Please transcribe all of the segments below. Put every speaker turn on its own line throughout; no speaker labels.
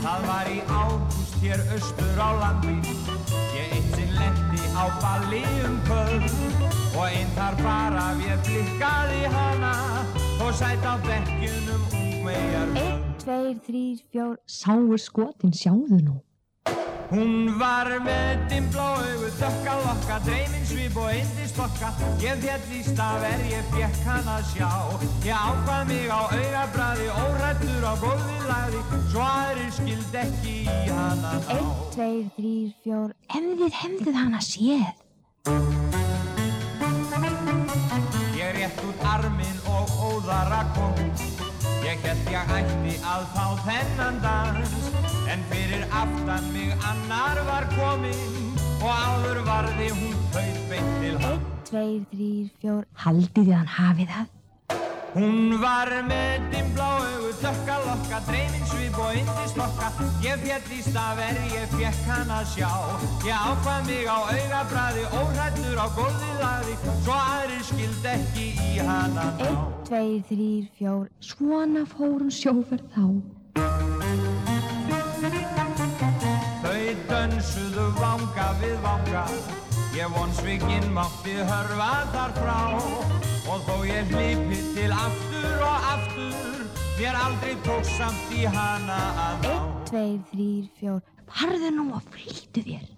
Það var í ágúst hér austur á landi Ég eitt sinn lendi á balli um kvöld Og einn þar bara ég blikkaði hana Og sætt á um bekkjunum ungmegar
Einn, tveir, þrýr, fjór Sáu skotin, sjáðu nú
Hún var með dimblá augu, dökka lokka, dreymin svip og indist fokka. Ég fjall í stafer, ég fekk hann að sjá. Ég ákvað mig á augabræði, órættur á góði lagði, svo aðrir skild ekki í hann að ná.
Einn, tveir, þrýr, fjór Hefðið, hefðið hana séð
Ég rétt út arminn og óðara kom Ég held ég ætti að fá þennan dans En fyrir aftan mig annar var kominn Og áður varði hún þau beint til hann
Einn, tveir, þrýr, fjór Haldið þið hann hafið það
Hún var með dimblá augu, dökka lokka, dreymin svip og yndist lokka. Ég fjall í stafer, ég fekk hann að sjá. Ég ákvað mig á augabræði, óhrættur á gólfið laði, svo aðrir skildi ekki í hann að ná.
Einn, tveir, þrýr, fjór Svona fór hún sjóferð þá
Þau dönsuðu vanga við vanga Ég von svikinn mátti hörfa þar frá Og þó ég hlipi til aftur og aftur Mér aldrei tók samt í hana að ná
Einn, tveir, þrýr, fjór Farðu nú að flýtu þér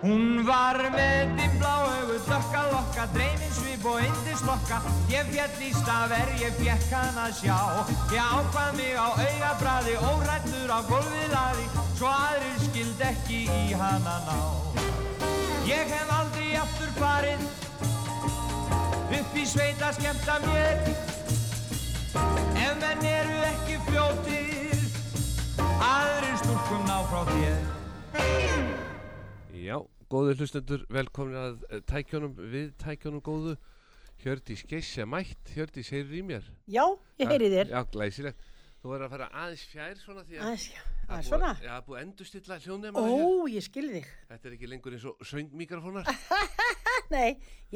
Hún var með dimblá augu, dökka lokka, dreymin svip og yndist lokka. Ég fjall í stafer, ég fekk hann að sjá. Ég ákvað mig á augabræði, órættur á gólfið laði, svo aðrir skild ekki í hann að ná. Ég hef aldrei aftur farið, upp í sveit að skemmta mér. Ef menn eru ekki fljótir, aðrir stúlkum ná frá þér.
Já, góður hlustendur, velkomin að eh, tækjónum, við tækjónum góðu Hjördís Geissi mætt, Hjördís heyrir í mér
Já, ég heyri þér.
Já, glæsilegt Þú verður að fara aðeins fjær svona því að
Aðeins, já,
það
að
er
svona.
búið- Já, það er búið að hérna- endurstilla hljónema
Ó, ég skil þig.
Þetta er ekki lengur eins og söngmikrofónar
Nei,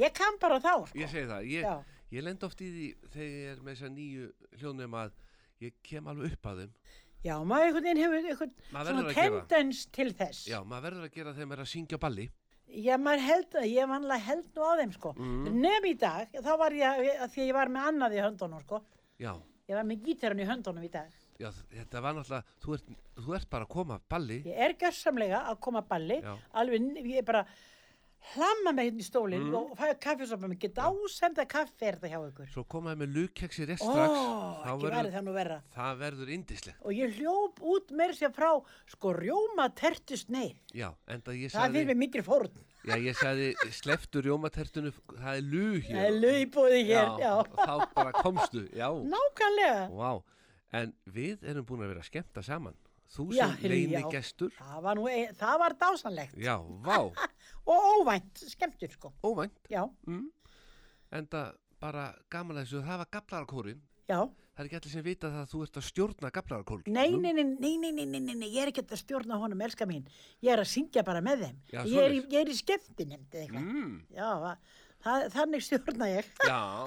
ég kann bara þá, sko.
Ég segi það,
Já.
ég, ég lend oft í því þegar ég er með þessa nýju hljónema að ég kem alveg upp að þeim
Já, maður einhvern veginn hefur
Maður
einhvern
verður
svona
að gera.
tendens til þess.
Já, maður verður að gera þegar maður er að syngja á balli
Já, maður held, ég vanlega held nú á þeim, sko.
Mhm.
Mm. Nefn í dag, þá var ég, að því að ég var með annað í höndunum, sko.
Já,
Ég var með gítarun í höndunum í dag.
já þetta var náttúrulega, þú ert, þú ert bara að koma af balli
Ég er gjörsamlega að koma að balli,
Já.
alveg, n- ég bara hlamma mig hérna í stólinn
Mhm.
og fæða kaffisopa, mér get ásenda kaffi er þetta hjá ykkur.
Svo komaði með lukkeksi rétt
Ó,
strax þá
ekki verið það nú verra.
Það verður indislegt
Og ég hljóp út meir sér frá, sko, rjóma tertust neyð.
Já, enda ég
Það
sagði
fyrir mig mikil fórn.
Já, ég sagði sleftu rjómatertinu Það er lú hér
Það er lögbúði hér, já.
Þá bara komstu, já
Nákvæmlega.
Vá, en við erum búin að vera að skemmta saman Þú
Já,
sem
heyrðu,
leini
já.
gestur
Það var nú, e- það var dásanlegt
Já, vá,
og óvænt, skemmtur sko.
óvænt Mm.
Já,
Enda bara gaman að þessu, það var gablararkórin
já.
Það er ekki allir sem vita það að þú ert að stjórna gablararkórin
Nei, nei, nei, nei, nei, nei, nei, nei, nei, ég er ekkert að stjórna honum, elska mín. Ég er að syngja bara með þeim.
Já,
ég, er í,
svoleiðis.
ég er í skemmtinemnd eða eitthvað.
mm,
Já, va- það, þannig stjórna ég.
Já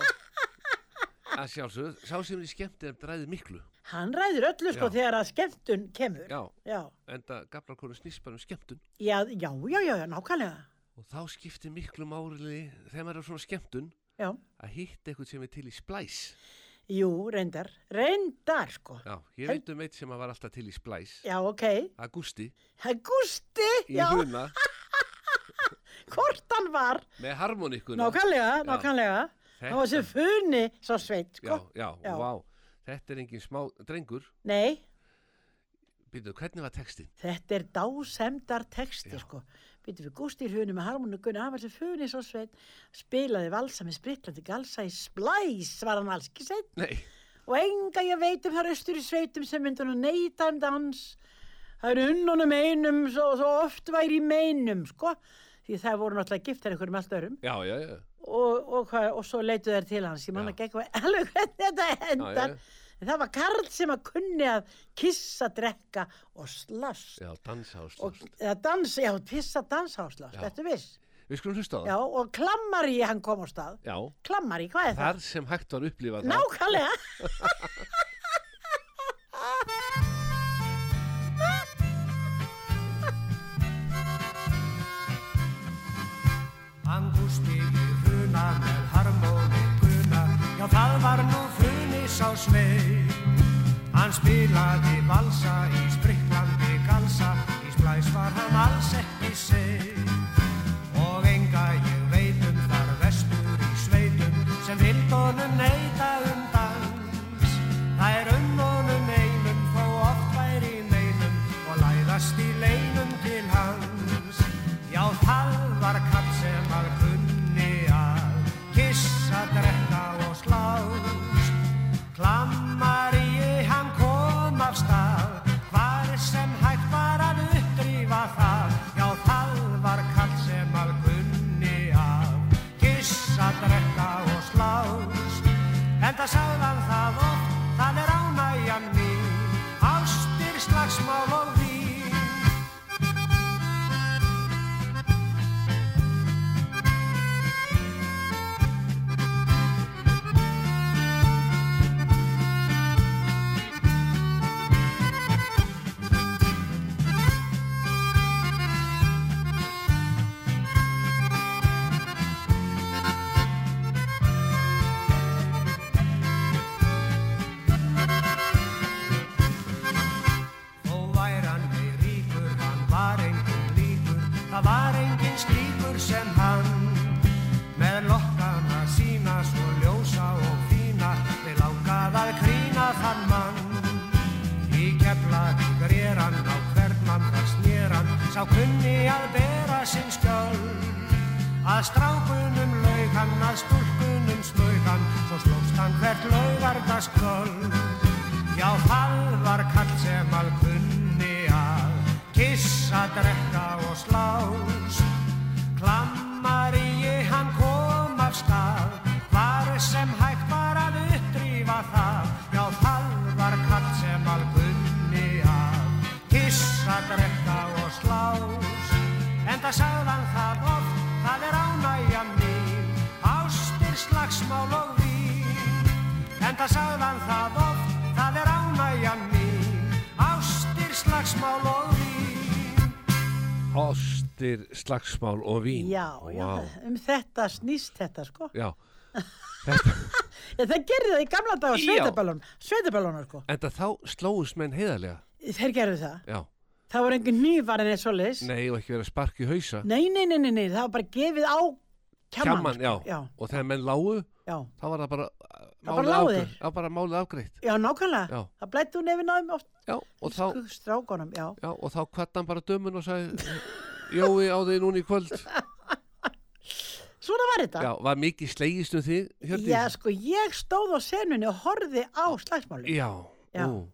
Að sjálfsögð, sá sem þið skemmtir dræði miklu
Hann ræður öllu sko
Já.
þegar að skemmtun kemur.
Já,
já,
enda gablararkórin snýst bara um skemmtun
já, já, já, já, já, nákvæmlega.
Og þá skiptir miklu máli þegar maður er á svona skemmtun
Já,
að hitta eitthvað sem er til í splæs.
jú, reyndar, reyndar sko.
Já, ég
Hei.
veit um eitt sem að var alltaf til í splæs.
Já, ok.
Það er Gústi
Það gústi,
í
já,
huna
hvort hann var.
með harmonikuna.
Nákvæmlega, nákvæmlega.
Þetta-
Það var sem funi sá
Já,
sveit, sko.
já,
Já.
vá. Þetta er engin smá drengur.
Nei,
Býtu, hvernig var textin?
þetta er dásemdar texti,
Já.
sko. Býtum við gústir hunu með harmonu Gunni, hann var sem funi sá sveit, spilaði valsa með spritlandi galsa í splæs, var hann alls ekki sett.
Nei,
Og enga ég veit um þar austur í sveitum sem myndi hann neyta um dans. Það eru unnunum einum, svo, svo oft væri í meinum, sko. Því það voru náttúrulega giftar einhverjum allt örum.
já, já, já.
og, og, hvað, og svo leitu þær til hans ég man
Já.
ekki eitthvað alveg hvernig þetta endar
já.
en það var Karl sem að kunni að kissa, drekka og slast
Já, dansa og
og
slast.
eða dansa, já, pissa, dansa og slast
Já.
þetta viss,
Við skulum hlusta á
já,
það.
og klammar í hann kom á stað,
Já.
klammar í, hvað er það?
Þar sem hægt var upplifað það.
nákvæmlega
sá sveig Hann spilaði valsa í spriklandi galsa Í splæs var hann alls ekki seig Og enga ég veit um þar vestur í sveitum Sem vild honum neita um dans Það er um honum einum þó oft væri neinum Og læðast í leinum til hans Já það var kall sem að kunni að Kissa, drekka og slást Klammar í hann kom af stað Hvar sem hægt var að uppdrýfa það Já það var kall sem að kunni að Kissa, drekka og slást En það sagðan það oft, það er ánægjan mín Ástir, slagsmál og vín Þó væri hann við ríkur, hann var engin líkur, það var engin slíkur sem hann. Með lokkana sína, svo ljósa og fína, við langað að krýna þann mann. Í keflavík er hann á hvern mann það snéran, sá kunni að bera sinn skjöld. Að strákunum laug hann, að stúlkunum smög hann, svo slóst hann hvert laugardaskvöld. Já, það var kall sem að kunni að kissa, drekka og slást. Klammar í hann kom af stað, var sem hægt var að uppdrýfa það. Já, það var kall sem að kunni að kissa, drekka og slást. En það sagðan það oft, það er ánægja mín, ástir, slagsmál og vín. En það sagðan það oft, það er ánægja mín, ástir, slagsmál og vín.
Ástir, slagsmál og vín
Já, já,
Vá.
um þetta snýst þetta sko.
já. Þetta,
Ég, það gerði það í gamla daga
Já.
sveitaballón, sveitaballónar sko.
Enda þá slóðust menn heiðarlega
Þeir gerðu það.
Já,
Það voru engin nývar en eitt svoleiðis.
nei og ekki verið að sparka í hausa
Nei, nei, nei, nei, nei, það var bara gefið á kjaman.
Kjamman, já.
sko. já.
Og þegar menn lágu,
Já,
þá var það bara uh,
Það bara lágu
afgreitt.
þeir.
Já, bara málið afgreitt
já, nákvæmlega.
Já.
Það blætti hún nefn á þeim oft
Já, og þá,
Sku- strákunum, já.
já, og þá kvætt hann bara dömun og sagði Jói á þig núna í kvöld
Svona var þetta.
Já, var mikið slegist um þig, Hjördís?
Já, sko, ég stóð á senunni og horfði á slagsmáli.
Já,
Já.
Ú,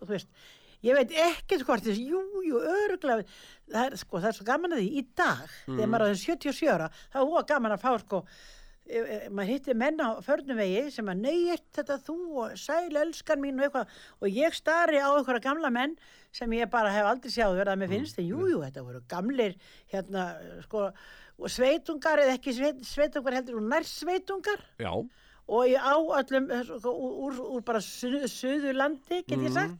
og þú veist, ég veit ekkert hvort þess, jú, jú, öruglega það er, sko, það er svo gaman að því í dag
Mm.
þegar maður er orðinn 77 ára, það er óa gaman að fá sko, e, e, maður hittir menn á förnumvegi sem að neyjert þetta þú og sæl elskan mín og eitthvað og ég stari á einhverja gamla menn sem ég bara hef aldrei sjáð verið að
Mm,
mér finnst en jú, jú, þetta voru gamlir hérna, sko, og sveitungar eða ekki sveit, sveitungar heldur og nær sveitungar
já,
og ég á öllum eh, sko, úr, úr, úr bara su- suðurlandi get
Mm.
ég sagt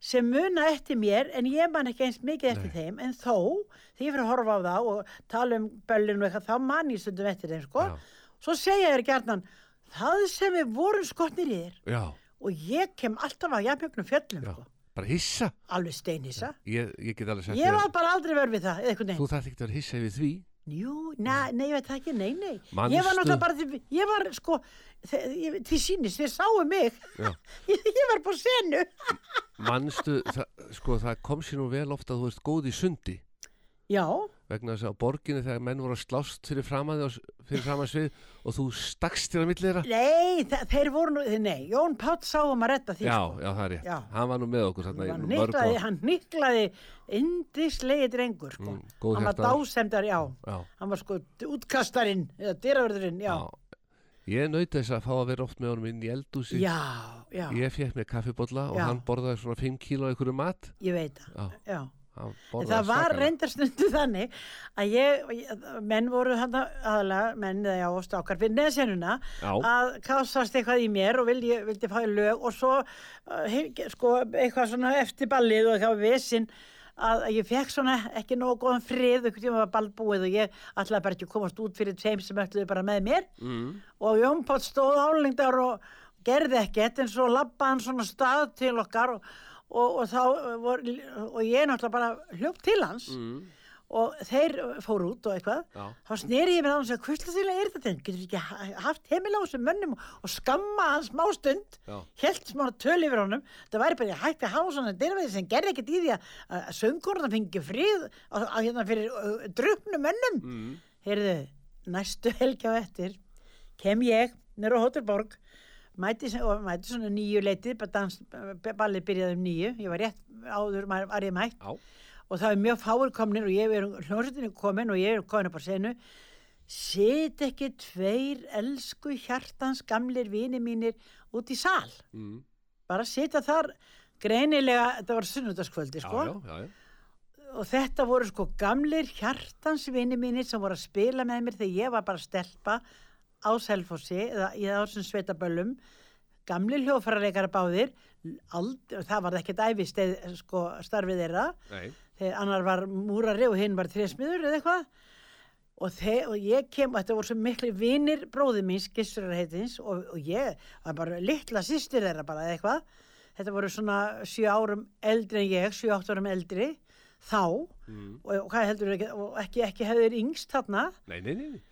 sem muna eftir mér en ég man ekki eins mikið eftir þeim en þó því ég fyrir að horfa á þá og tala um böllin og eitthvað þá man ég stundum eftir þeim sko
Já.
svo segja þér gjarnan það sem við vorum skotnir í þér
já,
og ég kem alltaf á jafnjögnum fjöllum
já
sko.
Bara hissa
alveg steinisa
Ég, ég get alveg sagt
ég
þér-
var bara aldrei verð við það eða
Þú
einhvern veginn
þarf ekki að vera hissa yfir því
Jú, na, nei, ég veit það ekki, nei, nei Ég var
Manstu-
náttúrulega bara, því- ég var sko þe- ég- Þið sýnist, þið sáu mig
Já.
ég, ég var bara senu
Manstu, það, sko það kom sér nú vel ofta að þú ert góð í sundi
Já,
vegna þess að á borginni þegar menn voru að slást fyrir framan, þig á s- fyrir framan svið og þú stakst þér að milli þeirra
nei, þe- þeir voru nú Nei, Jón Pátt sá um að retta því
Já,
sko.
já, það er rétt,
Já.
hann var nú með okkur þarna í
Hann
mörg
niklaði,
ár.
hann niklaði indislegi drengur sko.
Mm, góð
hann var
hjartaður.
dásemdar, já
Já,
hann var sko útkastarinn eða dyravörðurinn,
já
já
Ég nauti þess að fá að vera oft með honum inn í eldúsi
já, já, ég,
Ég fekk mér kaffibolla og
Já.
hann borðaði svona 5 kíló af einhverju mat
veit það
Já,
já.
hann
En
borðaði
það var
svakalega.
reyndar stundu þannig að ég, ég- menn voru hann aðalega, menn eða já, og strákar fyrir neðsennuna
Já.
að kásast eitthvað í mér og vildi, vildi fá í lög og svo uh, he- sko, eitthvað svona eftir ballið og eitthvað vesinn að að ég fekk svona ekki nógu góðan frið einhvern tíma var ballbúið og ég ætlaði
嗯
bara ekki að komast út fyrir tveim sem ætluðu bara með mér mm. og Jón Pátt stóð álengdar og gerði ekkert en svo labbaði hann svona af stað til okkar og, og, og þá vor, og ég náttúrulega bara hljóp til hans
嗯
Mm.
og þeir fóru út og eitthvað
Já.
þá sneri ég mér að hann og sagði hvers til að er þetta þeim getur ekki ha- haft heimil á þessum mönnum og skamma hans mástund
Já.
held smá töl yfir honum það væri bara hægt að hafa svona dyrfið sem gerði ekkert í því að, að söngurna fengi frið á, á, hérna fyrir uh, druknum mönnum
Mm.
heyrðu, næstu helgi á eftir kem ég nýra á Hótelborg mæti, og mæti svona nýju leitið bara dans, ballið byrjaði um nýju ég var rétt áður, maður var ég mætt
Já.
og það er mjög fáir komnir og ég er hljómsveitinu komin og ég er komin upp á senu sit ekki tveir elsku hjartans gamlir vini mínir út í sal
Mm.
bara sita þar greinilega, þetta var sunnudagskvöldi
Já,
sko
já, já, já.
og þetta voru sko gamlir hjartansvinni mínir sem voru að spila með mér þegar ég var bara að stelpa á Selfossi eða í þessum sveitaböllum gamlir hljófarareikara báðir ald, það var ekkert æfist sko, starfið þeirra
哎
Nei.
þegar annar var múrari og hinn var trésmiður eða eitthvað og, þe- og ég kem og þetta voru svo miklu vinir bróði mín skissurar heitins og, og ég var bara litla sýstir þeirra bara eða eitthvað þetta voru svona 7 árum eldri en ég 7-8 árum eldri þá
Mm.
og, og hvað heldur ekki, og ekki, ekki hefur yngst þarna
Nei, nei, nei, nei.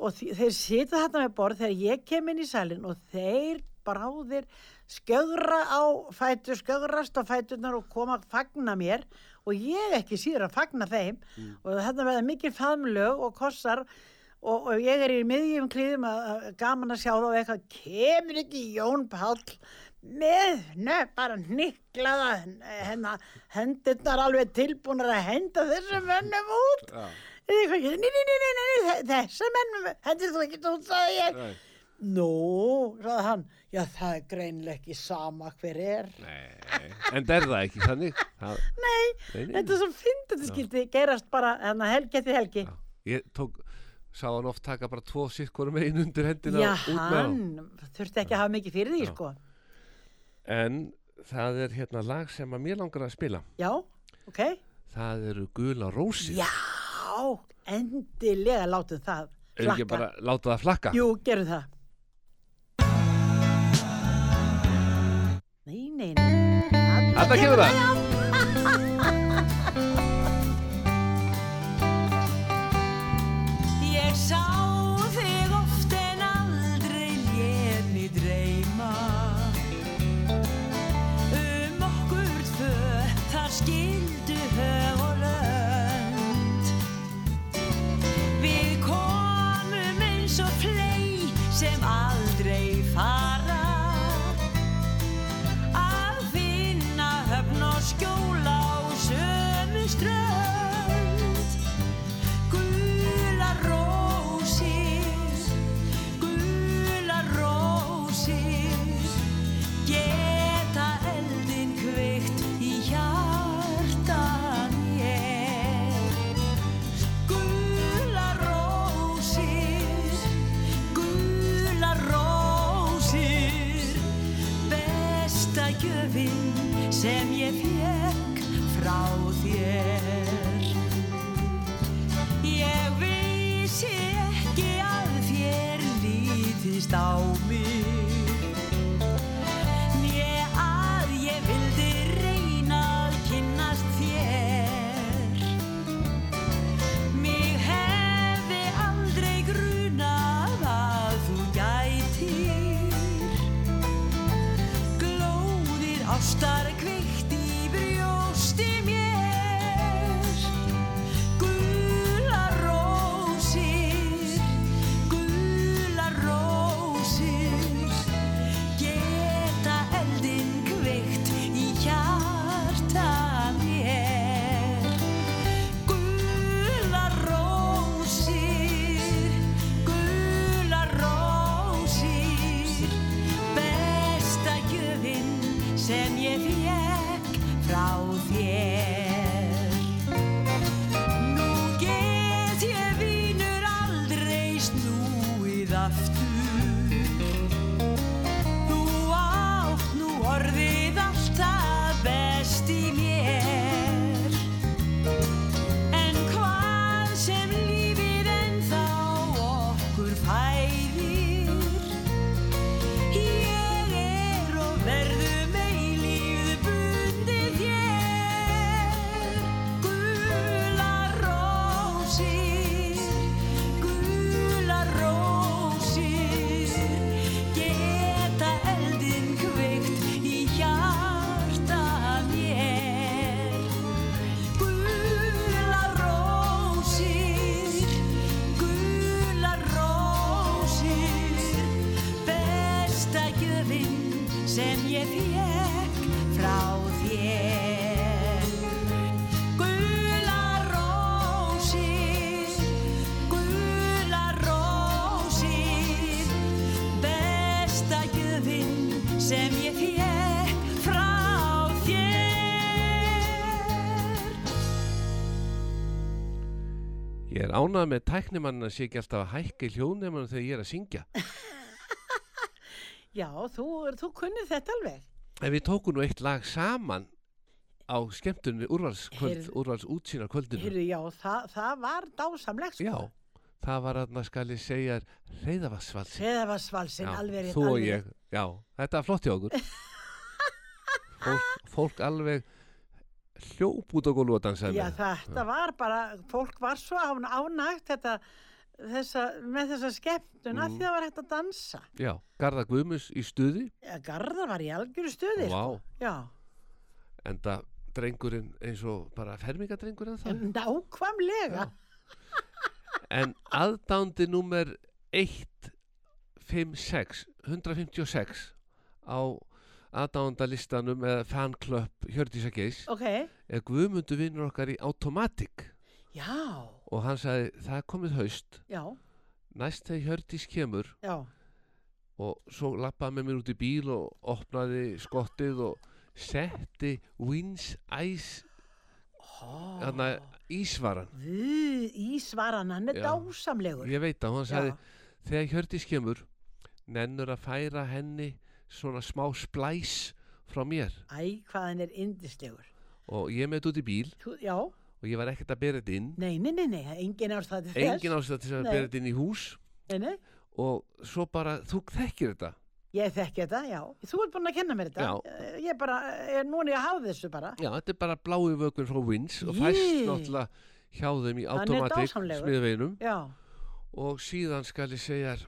og þi- þeir sita þarna með borð þegar ég kem inn í salin og þeir bráðir skjöðra á fætur, skjöðrast á fæturnar og koma að fagna mér og ég ekki síður að fagna þeim
嗯
og þarna verða mikil faðmlög og kossar og, og ég er í miðjum klíðum að, að gaman að sjá þá eitthvað kemur ekki Jón Páll með, nefn, bara hniklaða hennar, hendurnar alveg tilbúnar að henda þessum mönnum út
Já.
啊
Nei, nei, nei, nei, nei, nei, nei, þe- þessa menn hendur þú ekki út, sagði ég.
Nei.
Nú, sagði hann, já það er greinilega ekki sama hver er.
Nei. En það er það ekki þannig. Það,
Nei,
nei, nei.
þetta er svo fyndið þetta skildi gerast bara hérna helgi eftir helgi.
Já. Ég tók, sá hann oft taka bara tvo sirkurum einu undir hendina
Já,
og út með
hann
hann.
þurfti ekki að hafa mikið fyrir því,
Já.
sko.
En það er hérna lag sem að mér langar að spila.
Já, ok.
Það eru gula rósir.
Já, endilega látum það
Erum ekki
flakka.
bara láta það flakka?
Jú, gerum það. Nei, nei, nei.
Þarna kemur það.
Ég sá þig oft en aldrei létt mig dreyma Um okkur tvö þar skildu hög og lönd Við komum eins og flei sem aldrei fara Að finna höfn og skjóla á sömu strönd Gula rósir, gula rósir, geta eldin kveikt í hjartan ég. Gula rósir, gula rósir, besta gjöfin sem ég fekk frá þér. Ég vissi ekki að þér lítist á mig Né að ég vildi reyna að kynnast þér Mig hefði aldrei grunað að þú gætir Glóðir ástar kveikt í brjósti mér Gula rósir, gula rósir, geta eldin kveikt í hjarta mér. Gula rósir, gula rósir, besta gjöfin sem ég fekk frá þér. Nú get ég vínur aldrei snúið aftur Þú átt nú orðið alltaf best í mér En hvað sem lífið ennþá okkur færir Ég fékk frá þér Gula rósir, gula rósir Besta gjöfin sem ég fékk frá þér
Ég er ánað með tæknimann að sé ekki alltaf að hækka í hljóðnemann þegar ég er að syngja.
Já, þú, þú kunnið þetta alveg.
En við tókum nú eitt lag saman á skemmtunni úrvalskvöld,
Heyrðu-
úrvals útsýna kvöldinu.
Heyrðu, já, það, það var dásamlegt.
Já, það var aðna skal ég segja reyðavassvalsin.
Hreðavarsvalsinn, alveg rétt.
þú og
alveg
ég, já, þetta er flott hjá okkur. fólk, fólk alveg hljóp út á gólu og dansaði
Já,
með.
þetta var bara, fólk var svo án, ánægt þetta, þessa, með þessa skemmtun af
Mm.
því það var hægt að dansa.
Já, Garða Guðmus í stuði,
Ja, Garðar var í algjöru stuði. sko.
vá,
Já,
en það drengurinn eins og bara fermingadrengur en það.
nákvæmlega.
En aðdándi númer 156, 156 á aðdándalistanum eða fanklöpp Hjördísa Geis
Ok,
er Guðmundu vinnur okkar í Automatic
já,
og hann sagði það er komið haust,
já,
næst þegar Hjördís kemur
já.
og svo lappaði með mér út í bíl og opnaði skottið og setti Wins Ice
Ó,
þarna ísvaran
Vú, Ísvaran, hann er
Já.
dásamlegur.
Ég veit að hún sagði
Já.
þegar Hjördís kemur nennur að færa henni svona smá splæs frá mér
Æ, hvað hann er indislegur.
og ég með þetta út í bíl
Þú, já,
og ég var ekkert að bera þetta inn
nei, nei, nei, nei, engin ástæði þess.
engin ástæða til að
Nei.
bera þetta inn í hús
Nei, nei,
og svo bara þú þekkir þetta
ég þekki þetta, já. Þú ert búin að kenna mér þetta. Já. Ég bara, ég, núna ég hafa þessu bara.
já, þetta er bara blái vökun frá Wins og fæst
Jé.
náttúrulega hjá þeim í
Hann er
automatik
dásamlegur.
smiðveginum
Já,
og síðan skal ég segja þér,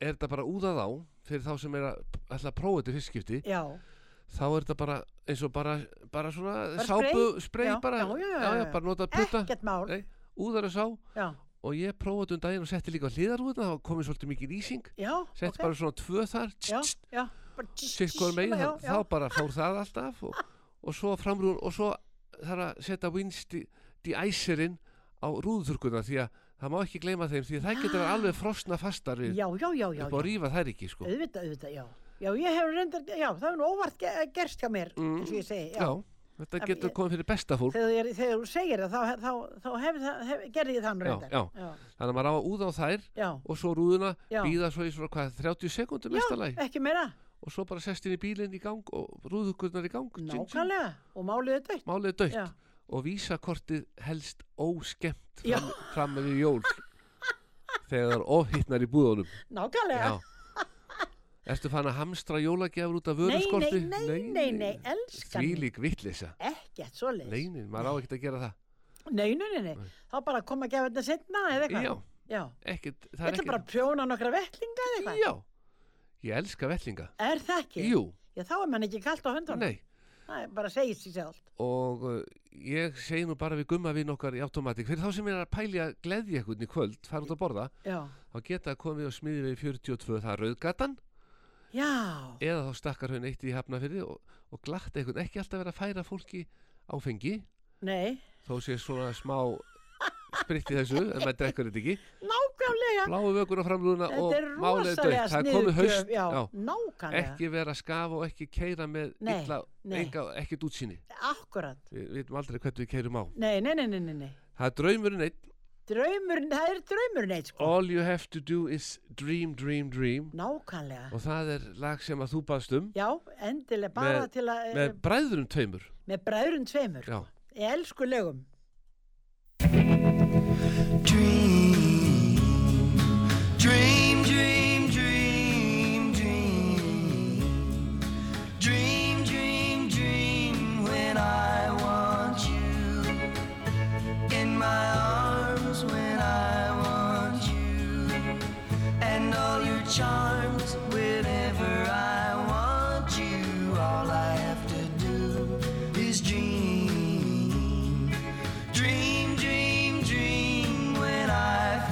er þetta bara úðað á fyrir þá sem er að ætla að prófa þetta fyrstskipti
já.
þá er þetta bara eins og bara, bara svona
Bara
sápu,
spray?
spray
Já,
bara,
já, já, já, já, já.
bara nota að putta
Ekkert mál.
Nei. úðar að sá
Já,
og ég prófaði um daginn og setti líka á hliðarúðuna þá komið svolítið mikið ísing
já,
setti bara svona tvö þar
Já, já. bara tss,
sitt
tss,
hver megin,
svona, já,
þá
já.
bara fór það alltaf og, og svo framrúðun og svo þarf að setja vinsti í æsirinn á rúðuturkuna því að það má ekki gleyma þeim því að það getur alveg frosna fastar við
Ah. Já, já, já, já.
upp á að rífa þær ekki sko
Auðvitað, auðvitað, já. Já, ég hef reyndar, já, það er nú óvart ge gerst hjá mér,
Mm.
eins og ég segi.
já, þetta
Af-
getur komið fyrir besta fólk
Þegar, ég- þegar þú segir það, þá, þá, þá hef, það- hef, gerði ég þann
Já,
reyndar.
já.
já.
þannig að maður á að úða á þær
Já,
og svo rúðuna
Já.
býða svo í svona hvað 30 sekundum
já,
mesta læg
ekki meira,
og svo bara sest inn í bílinn í gang og rúðukurnar í gang tjing, tjing.
nákvæmlega, og málið er dött.
málið er dött
Já,
og vísakortið helst óskemmt
Já.
fram, fram með í jól þegar það er ofhittnar í búðunum
nákvæmlega.
Já. Ertu fann að hamstra jólagjafur út af
nei, nei,
vöruskorti?
nei, nei, nei, elskan.
Því lík vittlisa
Ekkert svoleiðis.
Nei, nei, maður á ekkert að gera það
Nei, nei, nei, nei.
Nei.
Þá bara koma að gefa þetta setna eða eitthvað.
Já,
Já.
ekkert, það
Þetta
er
er bara
ekkert
að prjóna nokkra vettlinga eða eitthvað.
Já, ég elska vellinga
Er það ekki?
Jú,
Já, þá er mann ekki kalt á höndunum.
nei
Það er bara að segja sér sjálf.
Og uh, ég segi nú bara við gumma vinn okkar í automatik Fyrir þá sem er að pæli að gleðja eitthvað í kvöld, fara út að borða
Já.
þá geta að komið og smiði við 42 það er rauðgatan
Já.
eða þá stakkar hún eitt í hafnafyrði og, og glatt eitthvað, ekki alltaf vera að færa fólki áfengi,
Nei.
þó sé svona smá spritt í þessu, en maður drekkur þetta ekki
Nákvæmlega.
bláu vökun á framrúðuna
Þetta er
og málið er
rosalega
dött það er komið
sniðugjöf,
haust,
Já,
já,
nákvæmlega.
ekki vera að skafa og ekki keira með
Nei,
illa,
nei.
enga, ekkert útsýni
Akkurat.
við við veitum aldrei hvernig við keirum á
Nei, nei, nei, nei, nei, nei.
það er draumurinn einn,
Draumurinn, það er draumurinn eitt, sko.
all you have to do is dream, dream, dream
Nákvæmlega.
og það er lag sem að þú baðst um
Já, endilega bara
Með-
til að, eh,
með
með,
bræðurum tveimur
með bræðurinn tveimur.
já,
Ég elsku lögum.
dream, dream, dream, dream, dream, dream, dream, dream. When I want you in my arms, when I want you, and all your charms. Whenever I want you, all I have to do is dream dream, dream, dream when I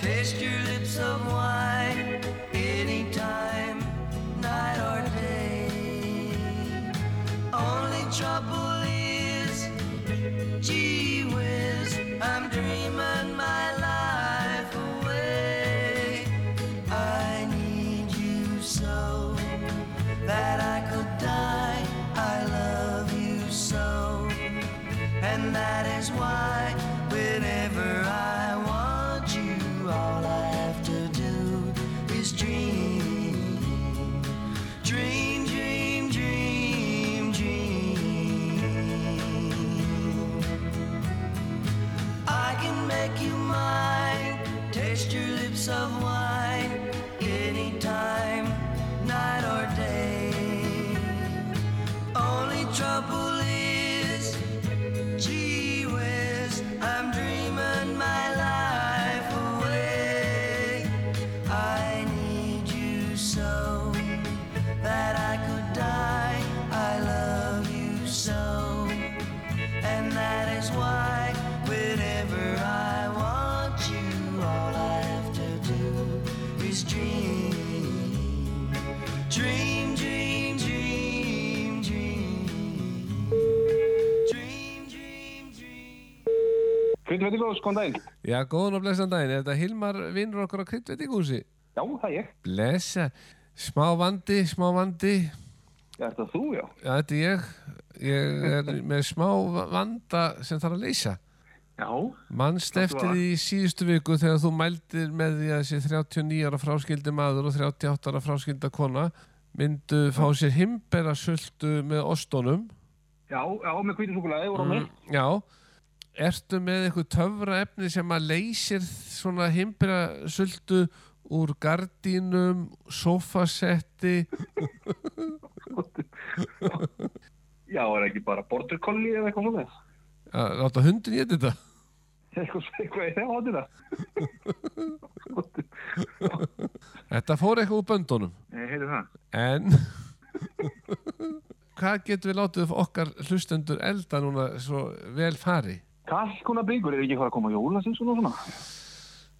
glass of wine anytime, night or day. Only trouble is, gee whiz, I'm dreaming my life away. I need you so that I could die. I love you so. And that is why whenever I want you, all I have to do is dream. Dream, dream, dream, dream. I can make you mine, taste your lips of wine, anytime, night or day. Only trouble is, Gee whiz, I'm dreaming my life away. I need you so that I could die. I love you so, and that is why whenever I want you, all I have to do is dream, dream, dream, dream, dream.
Kryddveitingós, góðan daginn.
Já, góðan og blessan daginn. Er þetta Hilmar vinnur okkur á kryddveitingúsi?
Já, það er ég.
Blessa. Smá vandi, smá vandi.
Já, er það þú, já.
Já, þetta er ég. Ég er með smá va- vanda sem þarf að leysa.
Já,
Manst eftir því í síðustu viku þegar þú mældir með því að þessi 39 ára fráskildi maður og 38 ára fráskilda kona myndu fá sér himbera með ostónum.
já, já, með hvítum súkulæði og rómi.
Mm, Já, ertu með eitthvað töfra efni sem að leysir svona himbera úr gardínum, sofasetti,
Já, er ekki bara border collie eða eitthvað svona þess.
að láta hundin í þetta?
Eitthvað svona, eitthvað í þeim átina.
Þetta fór eitthvað úr böndunum.
Nei, heyrðu það.
En hvað getum við látið okkar hlustendur elda núna svo vel fari?
Kalkuna bringur, er ekki eitthvað að koma jóla sinns og svona?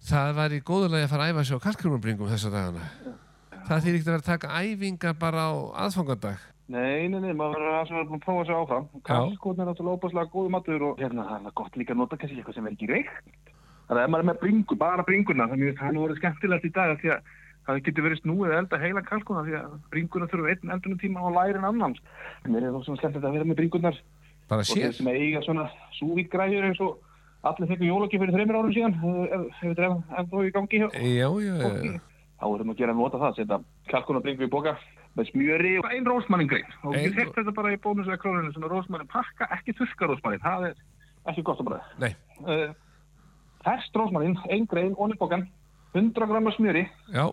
Það var í góðulegi að fara að æfa sig á kalkrumabringum þessa dagana. Það þýr ekkert að vera að taka æfingar bara á aðfangandag.
Nei, nei, nei, maður verður aðeins að vera búin að prófa sér áfram. Kalkuna er náttúrulega óbáslega góðu matur og hérna, það er alveg gott líka að nota kannski eitthvað sem er ekki reykt. Þannig að ef maður er með bringu, bara bringuna, þannig að það er nú orðið skemmtilegt í dag af því að það getur verið snúið að elda heila kalkuna því að bringuna þurfa einn eldunatíma og lærin annans. En mér er það svona skemmtilegt að vera með bringunar
Bara
og þeir
sér.
sem eiga svona súvít græður eins og allir fekkum jólagi fyrir þreymir árum síðan eh, ef- ef ef þetta er enn- ennþá í gangi hjá
Já, já, já.
þá erum að gera nota það, setja kalkun og bringu í boka með smjöri og ein rósmanningrein og
Ein
ég
ró-
fekk þetta bara í bónus eða króninu svona rósmannin pakka, ekki þurrka rósmannin það er ekki gott að bara
Nei,
uh, ferst rósmannin, ein grein, onni bókan 100 grammar smjöri,
já,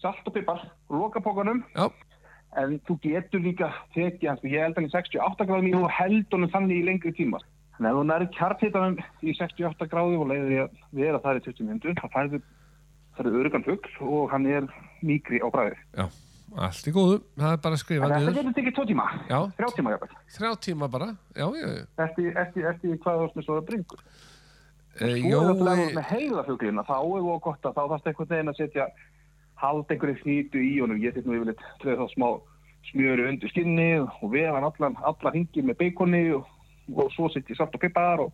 salt og pipar loka bókanum
já,
en þú getur líka tekið hann, sko, ég held hann í 68 gráðum í og held honum þannig í lengri tíma. En ef þú næri kjartitanum í 68 gráðu og leiður því að vera þar í 20 minnundur, þá færðu það eru örugan fugl og hann er mýkri á bræði.
já. Allt í góðu. Það er bara að skrifa
En þetta
niður.
getur tekið tvo tíma,
Já.
þrjá tíma jáfnveg,
Þrjá tíma bara. Já, já, já.
eftir, eftir, eftir hvað þú ert með svona bringur.
Eh,
Þú er þetta
Jói,
með heila fuglina, þá er þú gott að þá þarfst einhvern veginn að setja halda einhverju hýtu í honum, ég set nú yfirleitt treð þá smá smjöru undir skinni og vefa hann allan, alla hingið með beikoni og, og svo setja salt og pipar og,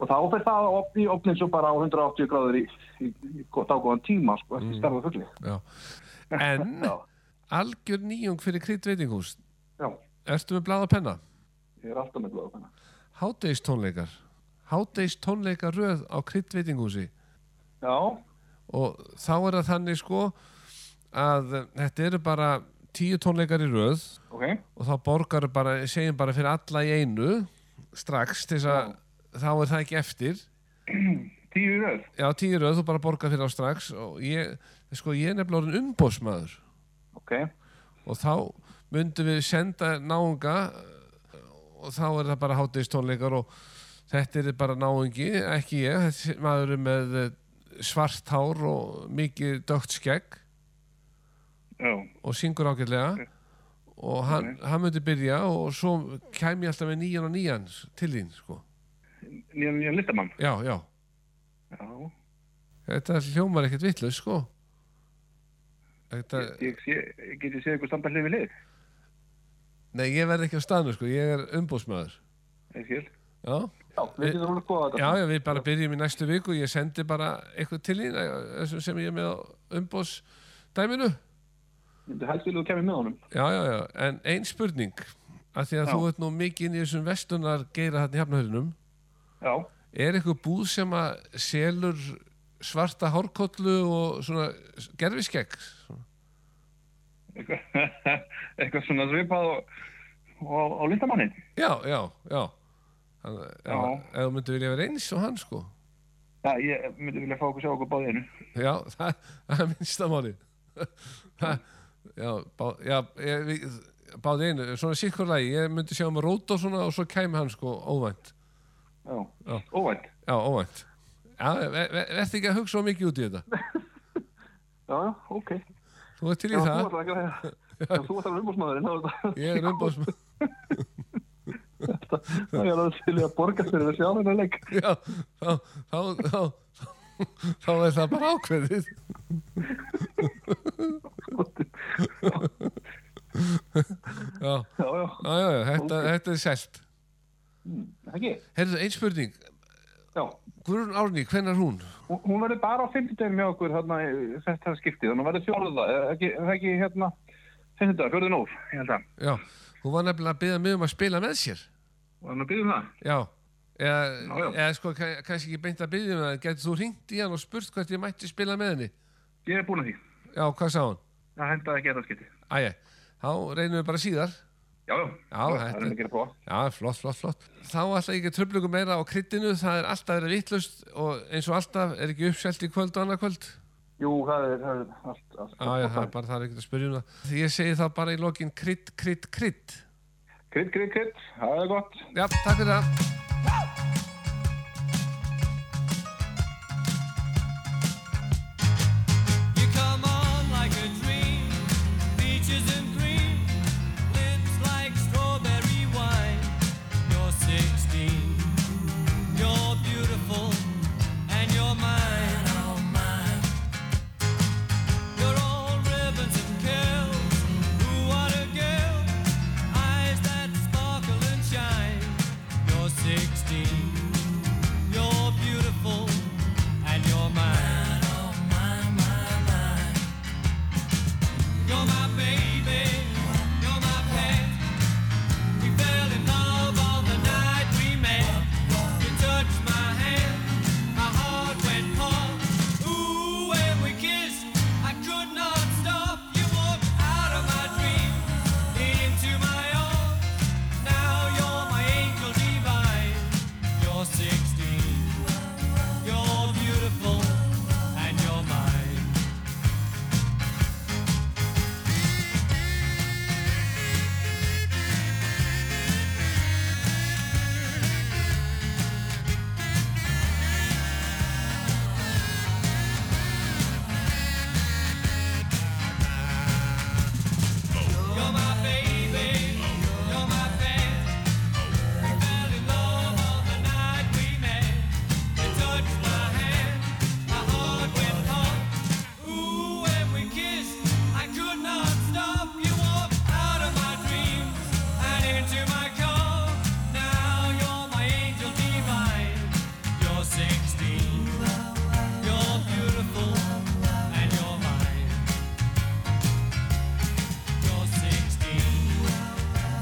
og þá fer það opni, opnin svo bara á 180 gráður í, í, í gott- dágóðan tíma sko,
Mm.
eftir starfa fugli.
já. En
Já,
algjör nýjung fyrir kryddveitingús.
já,
Ertu með bláða penna?
ég er alltaf með blóða þennan.
Hádeis tónleikar. Hádeis tónleikar röð á kryddveitingúsi.
Já,
og þá er það þannig sko að þetta eru bara tíu tónleikar í röð
ok,
og þá borgar bara, segjum bara fyrir alla í einu strax til þess að þá er það ekki eftir
tíu í röð,
já tíu í röð þú bara borgar fyrir á strax og ég, sko ég er nefnilega orðin umbósmaður
ok,
og þá myndum við senda náunga eh, og þá er það bara hátistónleikar og þetta er bara náungi, ekki ég þessi maður er með eh, svart hár og mikið dögt skegg
já,
og syngur ágætlega og hann, hann myndi byrja og svo kem ég alltaf með nýjan og nýjan s- til þín sko.
nýjan, nýjan listamann,
já, já,
já,
já, Þetta hljómar ekkert vitlaus, sko. Þetta,
Ég sé- get ég séð ykkur standa hlið við hlið.
nei, ég verð ekki á staðnum, sko. Ég er umbúsmaður.
Ég skil.
Já,
Já, við getum alveg skoðað þetta.
já, já, við bara byrjum í næstu viku. Ég sendi bara eitthvað til þín eh, þessum sem ég er með á umbúsdæminu.
Myndu helst vilja þú kemur með honum.
Já, já, já. En ein spurning, að því að
Já.
þú ert nú mikið inn í þessum vestunar geira hann í hafnahörinum.
Já,
Er eitthvað búð sem að selur svarta hárkollu og svona gerfiskegg?
eitthvað, eitthvað svona svipað og, og, á listamannin.
Já, já, já. Hann, já.
Já.
Ef þú myndir vilja vera eins og hann, sko.
Já, ég myndi vilja fá okkur sjá okkur báðið einu.
Já, það, það er minnstamáli. já, bá, já, ég, við- báði einu, svona sikkur lagi. Ég myndi sjá um að róta og svona og svo kæmi hann, sko, óvænt.
Já,
Já.
óvænt.
Já, óvænt. Já, ver, ver, verð ekki að hugsa svo mikið út í þetta.
Já, já, ok.
Þú ert til í
Já, þú
það.
ætlar ekki að Já, þú ætlar að vera umbúrsmaðurinn.
Ég er umbóðsmann.
Það er alveg til í að borga fyrir þessi áhengar leik.
Já, þá, þá, þá, þá, þá er það bara ákveðið. Já,
Já, já,
já, já, já þetta, þetta er selt.
ekki.
Herðu, ein spurning.
Já,
Guðrún Árný, hvenær hún?
hún hún verður bara á 50 dagum hjá okkur þarna í þetta skiptið. Þannig að hún verður fjóruða, ekki, er það ekki hérna, 50 dagar, fjóruðin úr, ég held að.
Já, hún var nefnilega að byggja mig um að spila með sér.
Og þannig að byrjum það.
Já, eða,
já.
eða sko, kann- kannski ekki beint að byggja mig það. Getur þú hringt í hann og spurt hvert ég mætti spila með henni?
Ég er búin að því.
Já, hvað sá hann?
Það hendaði ekki þetta skiptið.
Æja, þá reynum við bara síðar.
Já, já. það er
þetta-
mikið að prófa.
Já, flott, flott, flott. Þá ætla ég ekki að tröfla ykkur meira á kryddinu, það er alltaf verið vittlust og eins og alltaf er ekki uppselt í kvöld og annað kvöld.
Jú, það er, það er allt, allt.
Já, já, það er bara það er ekkert að spyrja um það. Því ég segi þá bara í lokin krydd, krydd, krydd.
Krydd, krydd, krydd, það er gott.
Já, takk fyrir það.
You come on like a dream, features in green, lips like strawberry wine. You're 16, you're beautiful, and you're mine. You're all ribbons and curls. Ooh, what a girl! Eyes that sparkle and shine. You're 16, you're beautiful, and you're mine. You're my baby, you're my pet. We fell in love on the night we met. You touched my hand, my heart went pop. Ooh, when we kissed, I could not stop. You walked out of my dream into my arms. Now you're my angel divine. You're 16, you're beautiful, and you're mine. You're my baby, you're my fan. We fell in love on the night we met. You touched my hand, my heart went pop. Ooh, when we kissed, I could not stop. You walked out of my dreams and into my car. Now you're my angel divine. You're 16, you're beautiful, and you're mine. You're 16,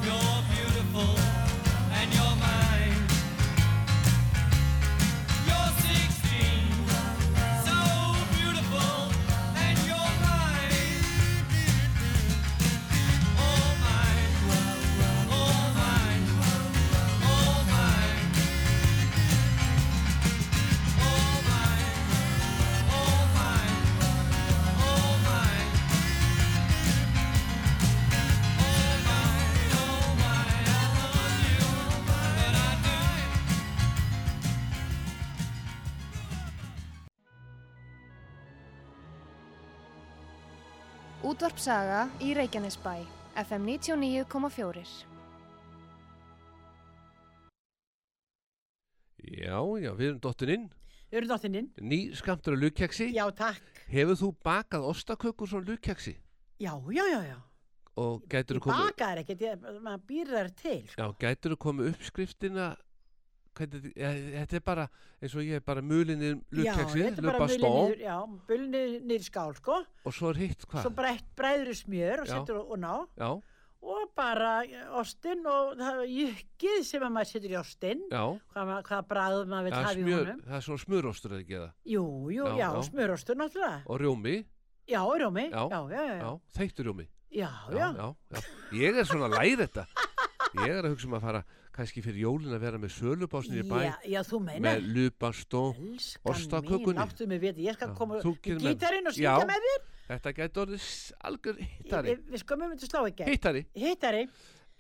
you're beautiful, and you're mine. You're 16, so beautiful, and you're mine. All mine, all mine, all mine. All mine, all mine, all mine.
Útvarpsaga í Reykjanesbæ, FM 99,4.
Já, já, við erum dottin inn.
Urðóttininn.
Ný skamtur af lukjaksi.
Já, takk.
Hefur þú bakað ostakökur svona lukjaksi?
Já, já, já, já.
Og gætur þú komið,
Baka er ekkert, ég- maður býr þær til. sko.
já, gætur þú komið uppskriftina, hvernig, ja, þetta er bara, eins og ég er bara mulinir lukjaksi,
Já, þetta er bara
lupa
mulið
stó
niður, já, bulnið niður í skál, sko.
og svo er hitt
Svo
hvað?
breytt bræður smjör og
Já.
setur og, og ná.
Já,
Og bara eh, ostinn og það er jukkið sem að maður setur í ostinn.
já,
Hvað, ma- hvaða bræður maður vil
það er
hafa í
smjör,
honum.
það er svona smjörostur eða ekki það,
Jú, jú,
Já,
já,
já.
smjörostur náttúrulega.
og rjómi,
Já, rjómi,
Já,
já, já, já, já,
já, þeittur rjómi.
já,
já, já, já. Ég er svona að læra þetta. Ég er að hugsa um að fara kannski fyrir jólin að vera með sölubásnir í bæ
já, já, þú meinar.
með lupastó.
Elskan mín,
ostakökunni.
láttu mig viti, ég skal
Já,
koma
þú
í
getur með-
gítarinn og
Já,
syngja með þér.
Þetta gæti orðið s- algjör hittari.
Við, við skömmum þetta slá ekki.
Hittari.
Hittari,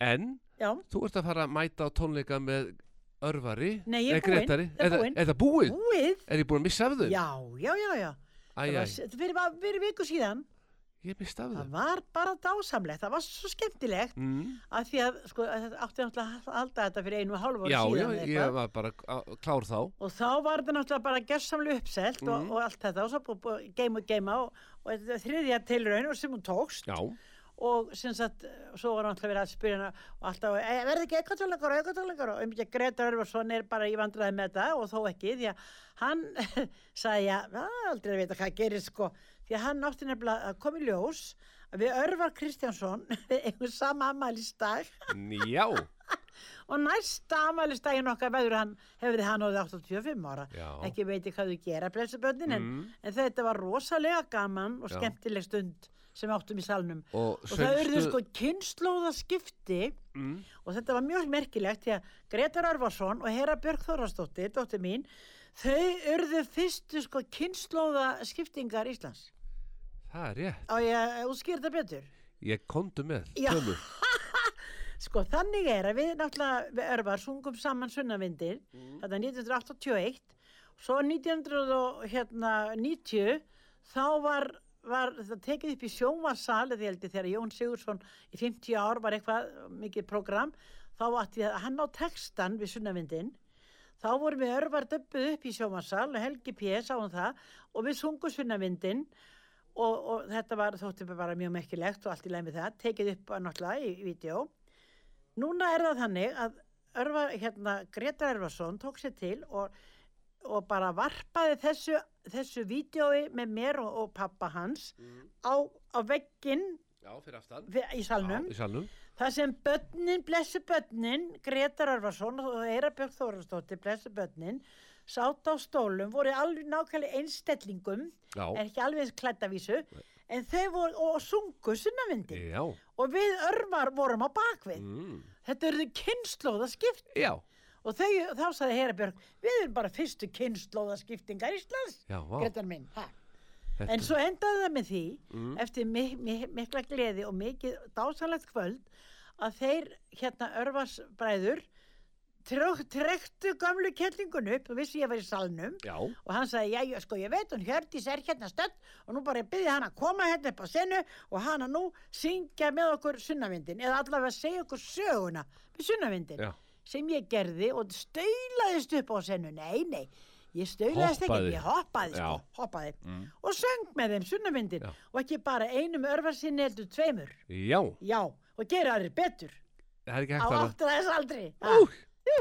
En
já,
þú ert að fara að mæta á tónleika með örvari.
Nei, ég er
eh,
búin.
Grétari.
Það er
Er,
búin.
er það búið?
búið.
Er ég búin að missa af þau?
Já, já, já, já.
Æ,
Það
æ,
var, þetta fyrir, bara- fyrir viku síðan,
ég missa af
það
þau.
var bara dásamlegt, það var svo skemmtilegt
Mm.
að því að, sko, að þetta átti náttúrulega að halda þetta fyrir einu og hálfu
Já,
ári
já,
síðan eða
ég var bara á- klár þá.
Og þá var þetta náttúrulega bara gerðsamlega uppselt og, og allt þetta og svo búið búið að geima og geima og, og þetta er þriðja tilraun og sem hún tókst
Já,
og sem sagt, svo var náttúrulega verið að spyrja hana og alltaf, "Eh, verði ekki eitthvað tónleikar og eitthvað tónleikar og um ekki að Greta Örvarsson er bara í vandræði með þetta og þó ekki því að hann sagði að "Ah, aldrei að vita hvað gerir sko því að hann átti nefnilega að koma í ljós að við Örvar Kristjánsson einhver sama amælistag
já,
og næsta amælistaginn okkar veður hann hefði hann orðið 85 ára
Já.
ekki veiti hvað þau gera blessuböndin
Mm.
en, en þetta var rosalega gaman og
Já.
skemmtileg stund sem við áttum í salnum
og
og það
söngstu-
urðu sko kynnslóðaskipti
Mm.
og þetta var mjög merkilegt því að Gretar Arvarsson og Hera Björk Þorastóttir, dóttir mín þau urðu fyrstu sko kynnslóðaskiptingar Íslands
það er rétt.
og ég útskýr þetta betur
Ég komdu með,
Já.
tömur.
sko þannig er að við náttúrulega við Örvar sungum saman sunnavindir þetta 1981 svo 1990 hérna, þá var var þetta tekið upp í sjónvarsal eða ég heldur þegar Jón Sigursson í 50 ár var eitthvað mikið program þá átti að hann á textan við sunnavindin þá vorum við örvar döbbuð upp í sjónvarsal og Helgi P. sáum það og við sungum sunnavindin og, og þetta var þótti bara mjög merkilegt og allt í læmi það, tekið upp að náttúrulega í, í vídeo núna er það þannig að Örva, hérna, Greta Örvarsson tók sér til og, og bara varpaði þessu, þessu vídeoi með mér og, og pappa hans á, á vegginn
Já, fyrir aftan.
við- í salnum
Já, í salnum.
Það sem börnin, blessu börnin, Gretar Arvarsson og Eirabjörg Þórastóttir, blessu börnin, sátt á stólum, voru alveg nákvæmlega einstellingum,
Já,
en ekki alveg eins klættavísu, en þau voru og sungu sunnavindi
já,
og við örvar vorum á bakvið.
mm.
Þetta eruðu kynnslóðaskipt
já,
og þau, þá sagði Eirabjörg, við erum bara fyrstu kynnslóðaskiptingar Íslands,
já, vá.
Gretar minn. Ha.
Þetta-
En svo endaði það með því,
Mm.
eftir mi mi mikla gleði og mikið dásalegt kvöld, að þeir, hérna örvarsbræður, trektu gamlu kellingun upp, þú vissi ég var í salnum,
Já,
og hann sagði, já, já, sko, ég veit, hún Hjördís er hérna stödd og nú bara ég byrði hann að koma hérna upp á senu og hana nú syngja með okkur sunnavindin, eða allavega segja okkur söguna með sunnavindin,
Já.
sem ég gerði og stöylaðist upp á senu, nei, nei, ég stöylaðist
Hoppaði.
ekki, ég hoppaði, sko,
Já.
hoppaði og söng með þeim sunnavindin
Já.
og ekki bara einum örfarsinni heldur tveimur,
já,
já, og gera aðrir betur
það er ekki
á
hægt að...
áttur þess aldri. Ah.
Ú,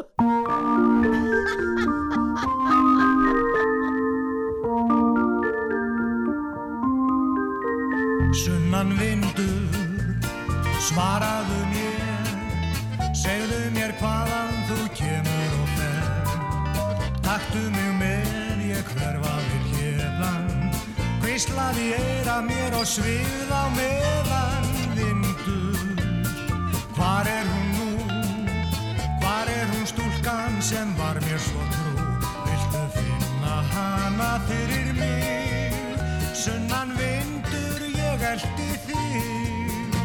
Sunnan vindur, svaraðu mér Segðu mér hvaðan þú kemur og fer Taktu mig með, ég hverfa mér hérðan Hvíslaði eira mér og svið á meðan Vindur, hvar er hún nú? Hvar er hún stúlkan sem var mér svo trú? Viltu finna hana fyrir mig? Sunnan vindur ég eldi þig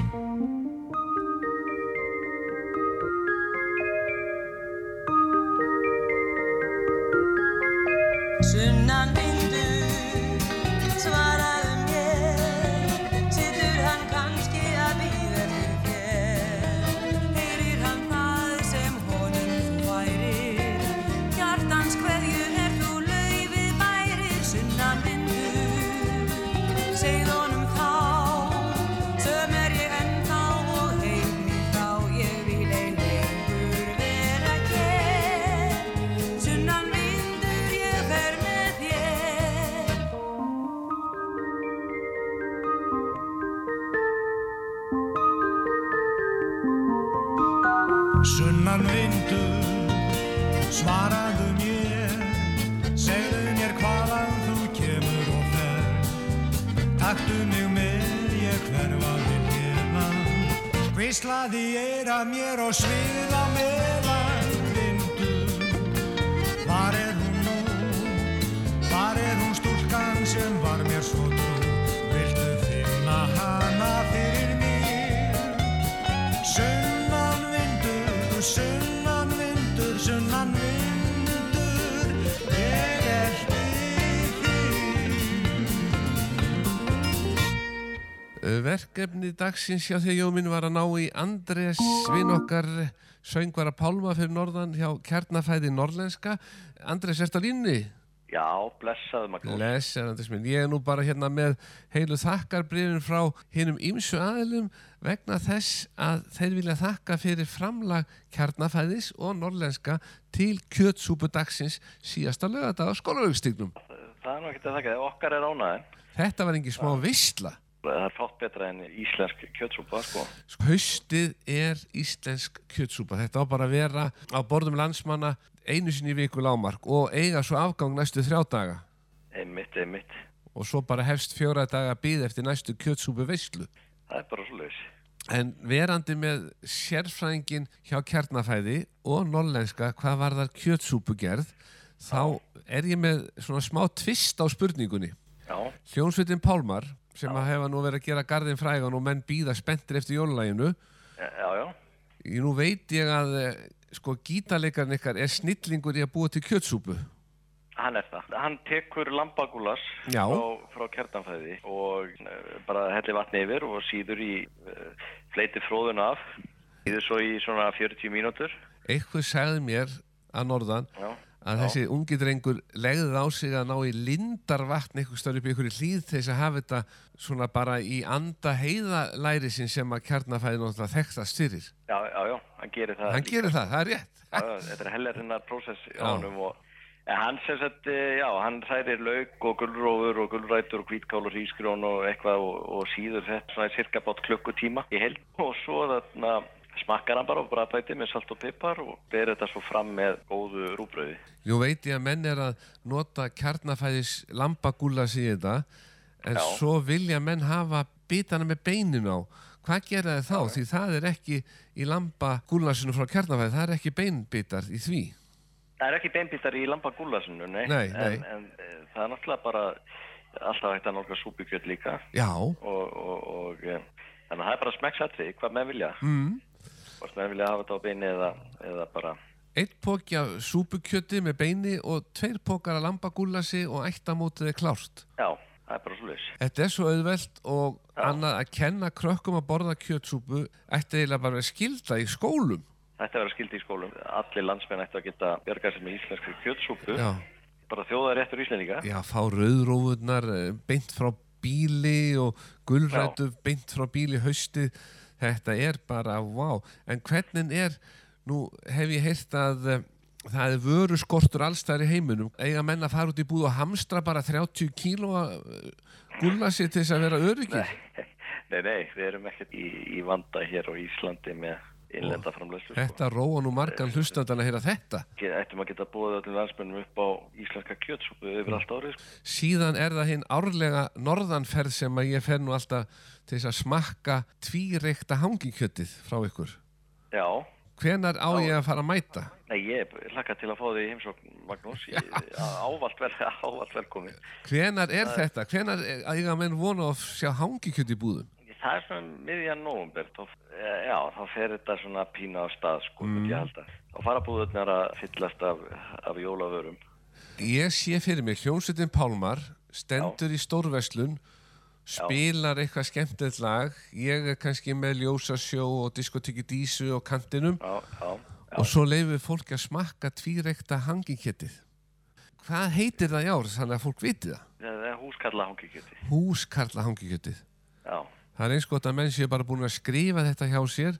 Sunnan vindur, svaraðu mér Situr hann kannski að býða þig þér Heyrir hann það sem honum þú værir Hjartans hverju er þú laufið er myndur Svaraðu mér Segðu mér hvaðan þú kemur og fer Taktu mig með Ég hverfaði hérna Hvíslaði eira mér og sviða meðan Myndur Hvar er hún nú? Hvar er hún stúlkan sem var mér svo trú? Viltu finna hana fyrir mér? Sunnan vindur, sunnan vindur, sunnan vindur, ég er hlið þín.
Eh, Verkefni dagsins hjá því að Jómin var að ná í Andrés vinn okkar söngvara Pálma fyrir norðan hjá kjarnafæði norlenska. Andrés, ertu á línni?
Já, blessaðu Magnús.
Blessar, Andrés minn. Ég er nú bara hérna með heilu þakkarbrifin frá hinnum ýmsu aðilum vegna þess að þeir vilja þakka fyrir framlag kjarnafæðis og norlenska til kjötsúpu dagsins síðasta lögadag á skólaraugstíknum.
Það er nú ekkert að þakka, okkar er ánæðin.
Þetta var engin smá vistla.
Það er fátt betra en íslensk kjötsúpa, sko.
Sko, haustið er íslensk kjötsúpa þetta á bara að vera á borðum landsmanna einu sinni í viku lámark og eiga svo afgang næstu þrjá daga
Einmitt, einmitt.
og svo bara hefst fjóra daga býð eftir næstu kjötsúpu veislu
Það er bara svo leiðis.
en verandi með sérfræðingin hjá kjarnafæði og norlenska hvað var þar kjötsúpugerð þá er ég með svona smá tvist á spurningunni
Já,
Hljónsveitin Pálmar sem að hefa nú verið að gera garðin frægan og menn býða spenntir eftir jólulæginu
já, já.
Ég nú veit ég að eh, sko gítarleikarn ykkar er snillingur í að búa til kjötsúpu.
Hann er það. Hann tekur lambagúlas
Já.
frá, frá kjartanfæði og eh, bara helli vatni yfir og síður í uh, fleiti fróðuna af. Síður svo í svona 40 mínútur.
Eitthvað sagði mér að norðan
Já.
að þessi ungi drengur legðið á sig að ná í lindarvatn eitthvað stöður upp í einhverju hlýð til þess að hafa þetta svona bara í anda heiðalæri sin sem að kjarnafæði náttúrulega þekktast fyrir.
Já, já, já. Hann gerir það.
Hann gerir það, það er rétt.
Já, já, þetta er hellarinnar prósess
Já.
á honum og en hann sem sagt, eh, já, hann hrærir lauk og gulrófur og gulrætur og hvítkál og rísgrjón og eitthvað og, og síður þetta svona í cirka bát klukkutíma í held og svo þarna smakkar hann bara og bræðbæti með salt og pipar og ber þetta svo fram með góðu rúbröði.
Nú veit ég að menn er að nota kjarnafæðis lambagúlas í þetta en
Já.
svo vilja menn hafa bitana með beinin á. Hvað gera þið þá? Því það er ekki í lambagúlasinu frá kjarnafæði, það er ekki beinbitar í því.
Það er ekki beinbítar í lambagúlasinu, nei,
Nei, nei.
En, en eh, það er náttúrulega bara alltaf hægt að nálga súpukjöld líka
Já,
og, og, og eh, þannig að það er bara smekksatrið, hvað menn vilja. Mm. Hvort menn vilja hafa þetta á beini eða, eða bara
eitt póki af súpukjöti með beini og tveir pókar af lambagúlasi og eittamótið er klárt.
Já, það er bara svo leiðis.
Þetta er svo auðvelt og annað að kenna krökkum að borða kjötsúpu ætti eiginlega bara að vera skilda í skólum.
Þetta verður skildi í skólum. Allir landsmenn ættu að geta björgað sér með íslensku kjötsúpu.
Já.
Bara þjóða réttur íslendinga.
Já, fá rauðrófurnar eh, beint frá bíli og gulrætu beint frá bíli haustið. Þetta er bara, vá. En hvernig er, nú hef ég heyrt að eh, það er vöru skortur allstæðar í heiminum. Eiga menn að fara út í búð og hamstra bara 30 kílóa gulla sér eh, til þess að vera öryggir.
Nei, nei, við erum ekkert í, í vanda hér á Íslandi með innlenda sko. framleyslu.
Þetta róa nú margan hlustandana að heyra þetta.
Ættum að geta búið öllum landsmennum upp á íslenska kjötsúpu yfir allt árið. Sko.
Síðan er það hinn árlega norðanferð sem að ég fer nú alltaf til þess að smakka tvíreikta hangikjötið frá ykkur.
Já,
Hvenar á ég að fara að mæta?
nei, ég hlakka til að fá því heimsókn, Magnús. Ég, ávalt, vel, ávalt velkomin.
Hvenar er þetta? Hvenar er- eiga menn vona að sjá hangikjöt í búðum?
Það er svona miðjan nóvumber, þá, eh, já, þá fer þetta svona pína á stað, sko, mm. ég held að. Og farabúðurnar að fyllast af, af jólavörum.
Ég sé fyrir mig hljómsveitin Pálmar stendur í stórverslun spilar eitthvað skemmtilegt lag ég er kannski með ljósasjó og diskotiki dísu og kantinum
Já, já, já.
og svo leifir fólki að smakka tvíreikta hangikjötið. Hvað heitir það í ár þannig að fólk viti það?
Það er húskalla hangikjöti.
Húskarla hangikjötið.
Já,
Það er eins gott að menn séu bara búin að skrifa þetta hjá sér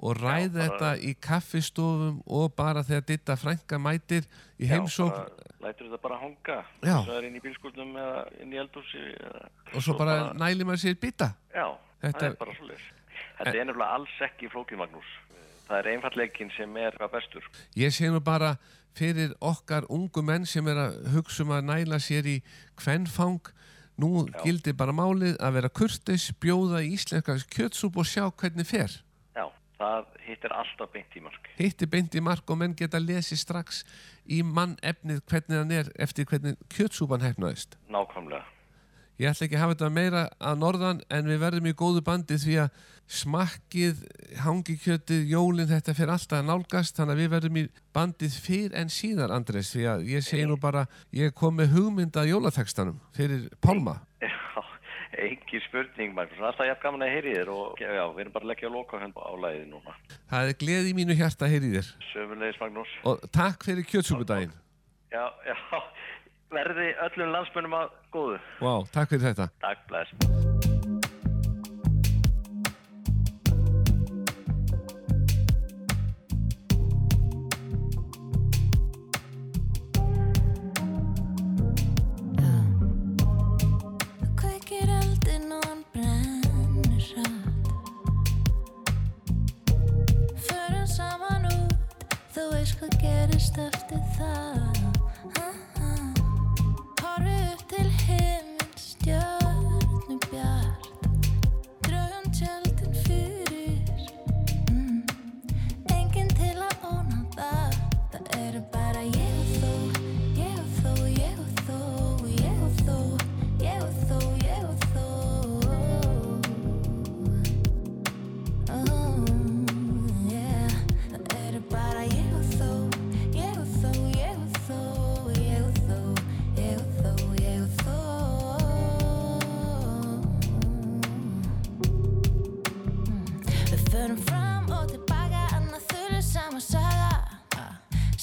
og ræða
bara-
þetta í kaffistofum og bara þegar ditta frænka mætir í heimsókn
bara lætur þetta bara hanga.
Já.
Svo er inn í bílskúrnum eða inn í eldhúsi. Eða,
og svo bara næli maður sér bita.
Já,
Þetta-
það er bara svo Þetta er nefnilega alls ekki flókið, Magnús. Það er einfallegin sem er hvað bestur.
Ég sé nú bara fyrir okkar ungu menn sem er að hugsa um að næla sér í kvennfang. Nú gildi bara málið að vera kurtis, bjóða í íslenska kjötsúp og sjá hvernig fer.
Já, það hittir alltaf beint í mark.
Hitti beint í mark og menn geta lesið strax í mannefnið hvernig hann er eftir hvernig kjötsúpan hefnaðist.
Nákvæmlega.
Ég ætla ekki að hafa þetta meira að norðan en við verðum í góðu bandi því að smakkið, hangikjötið, jólinn, þetta fyrir alltaf að nálgast þannig að við verðum í bandið fyrr en síðar, Andres, því að ég segi nú bara, ég kom með hugmynda jólatekstanum fyrir Pálma.
Já, engi spurning, Magnús. Alltaf jafn gaman að heyri þér og já, við erum bara að leggja að loka hönd á læðið núna.
Það er gleði í mínu hjarta að heyri þér
Söfumlegis, Magnús.
og takk fyrir kjötsúpudaginn.
Já, já, verði öllum landsmönnum að góðu.
Vá, takk fyrir þetta.
Takk, bless.
Kveikir eldinn og hann brennur hratt Förum saman út Þú veist hvað gerist eftir það Ha, ha. Horfi upp til himins stjörnubjart Draugum tjöldin fyrir mm. Enginn til að óna það Það eru bara ég og þú Ég og þú, ég og þú, ég og þú Ég og þú, ég og þú Oh, yeah Það eru bara ég og þú Ég og þú, ég og þú, ég og þú Ég og þú, ég og þú Við förum fram og tilbaka Annað þurru sama saga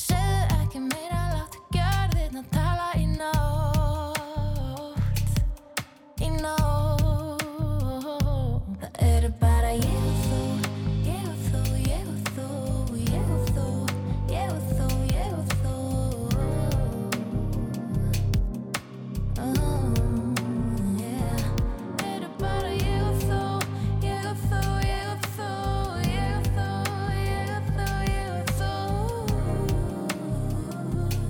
Segðu ekki meira, láttu gjörðirna tala í nótt Í nótt Það eru bara ég og þú Ég og þú, ég og þú, ég og þú Ég og þú, ég og þú Oh, yeah Það eru bara ég og þú Ég og þú, ég og þú Ég og þú, ég og þú, ég og þú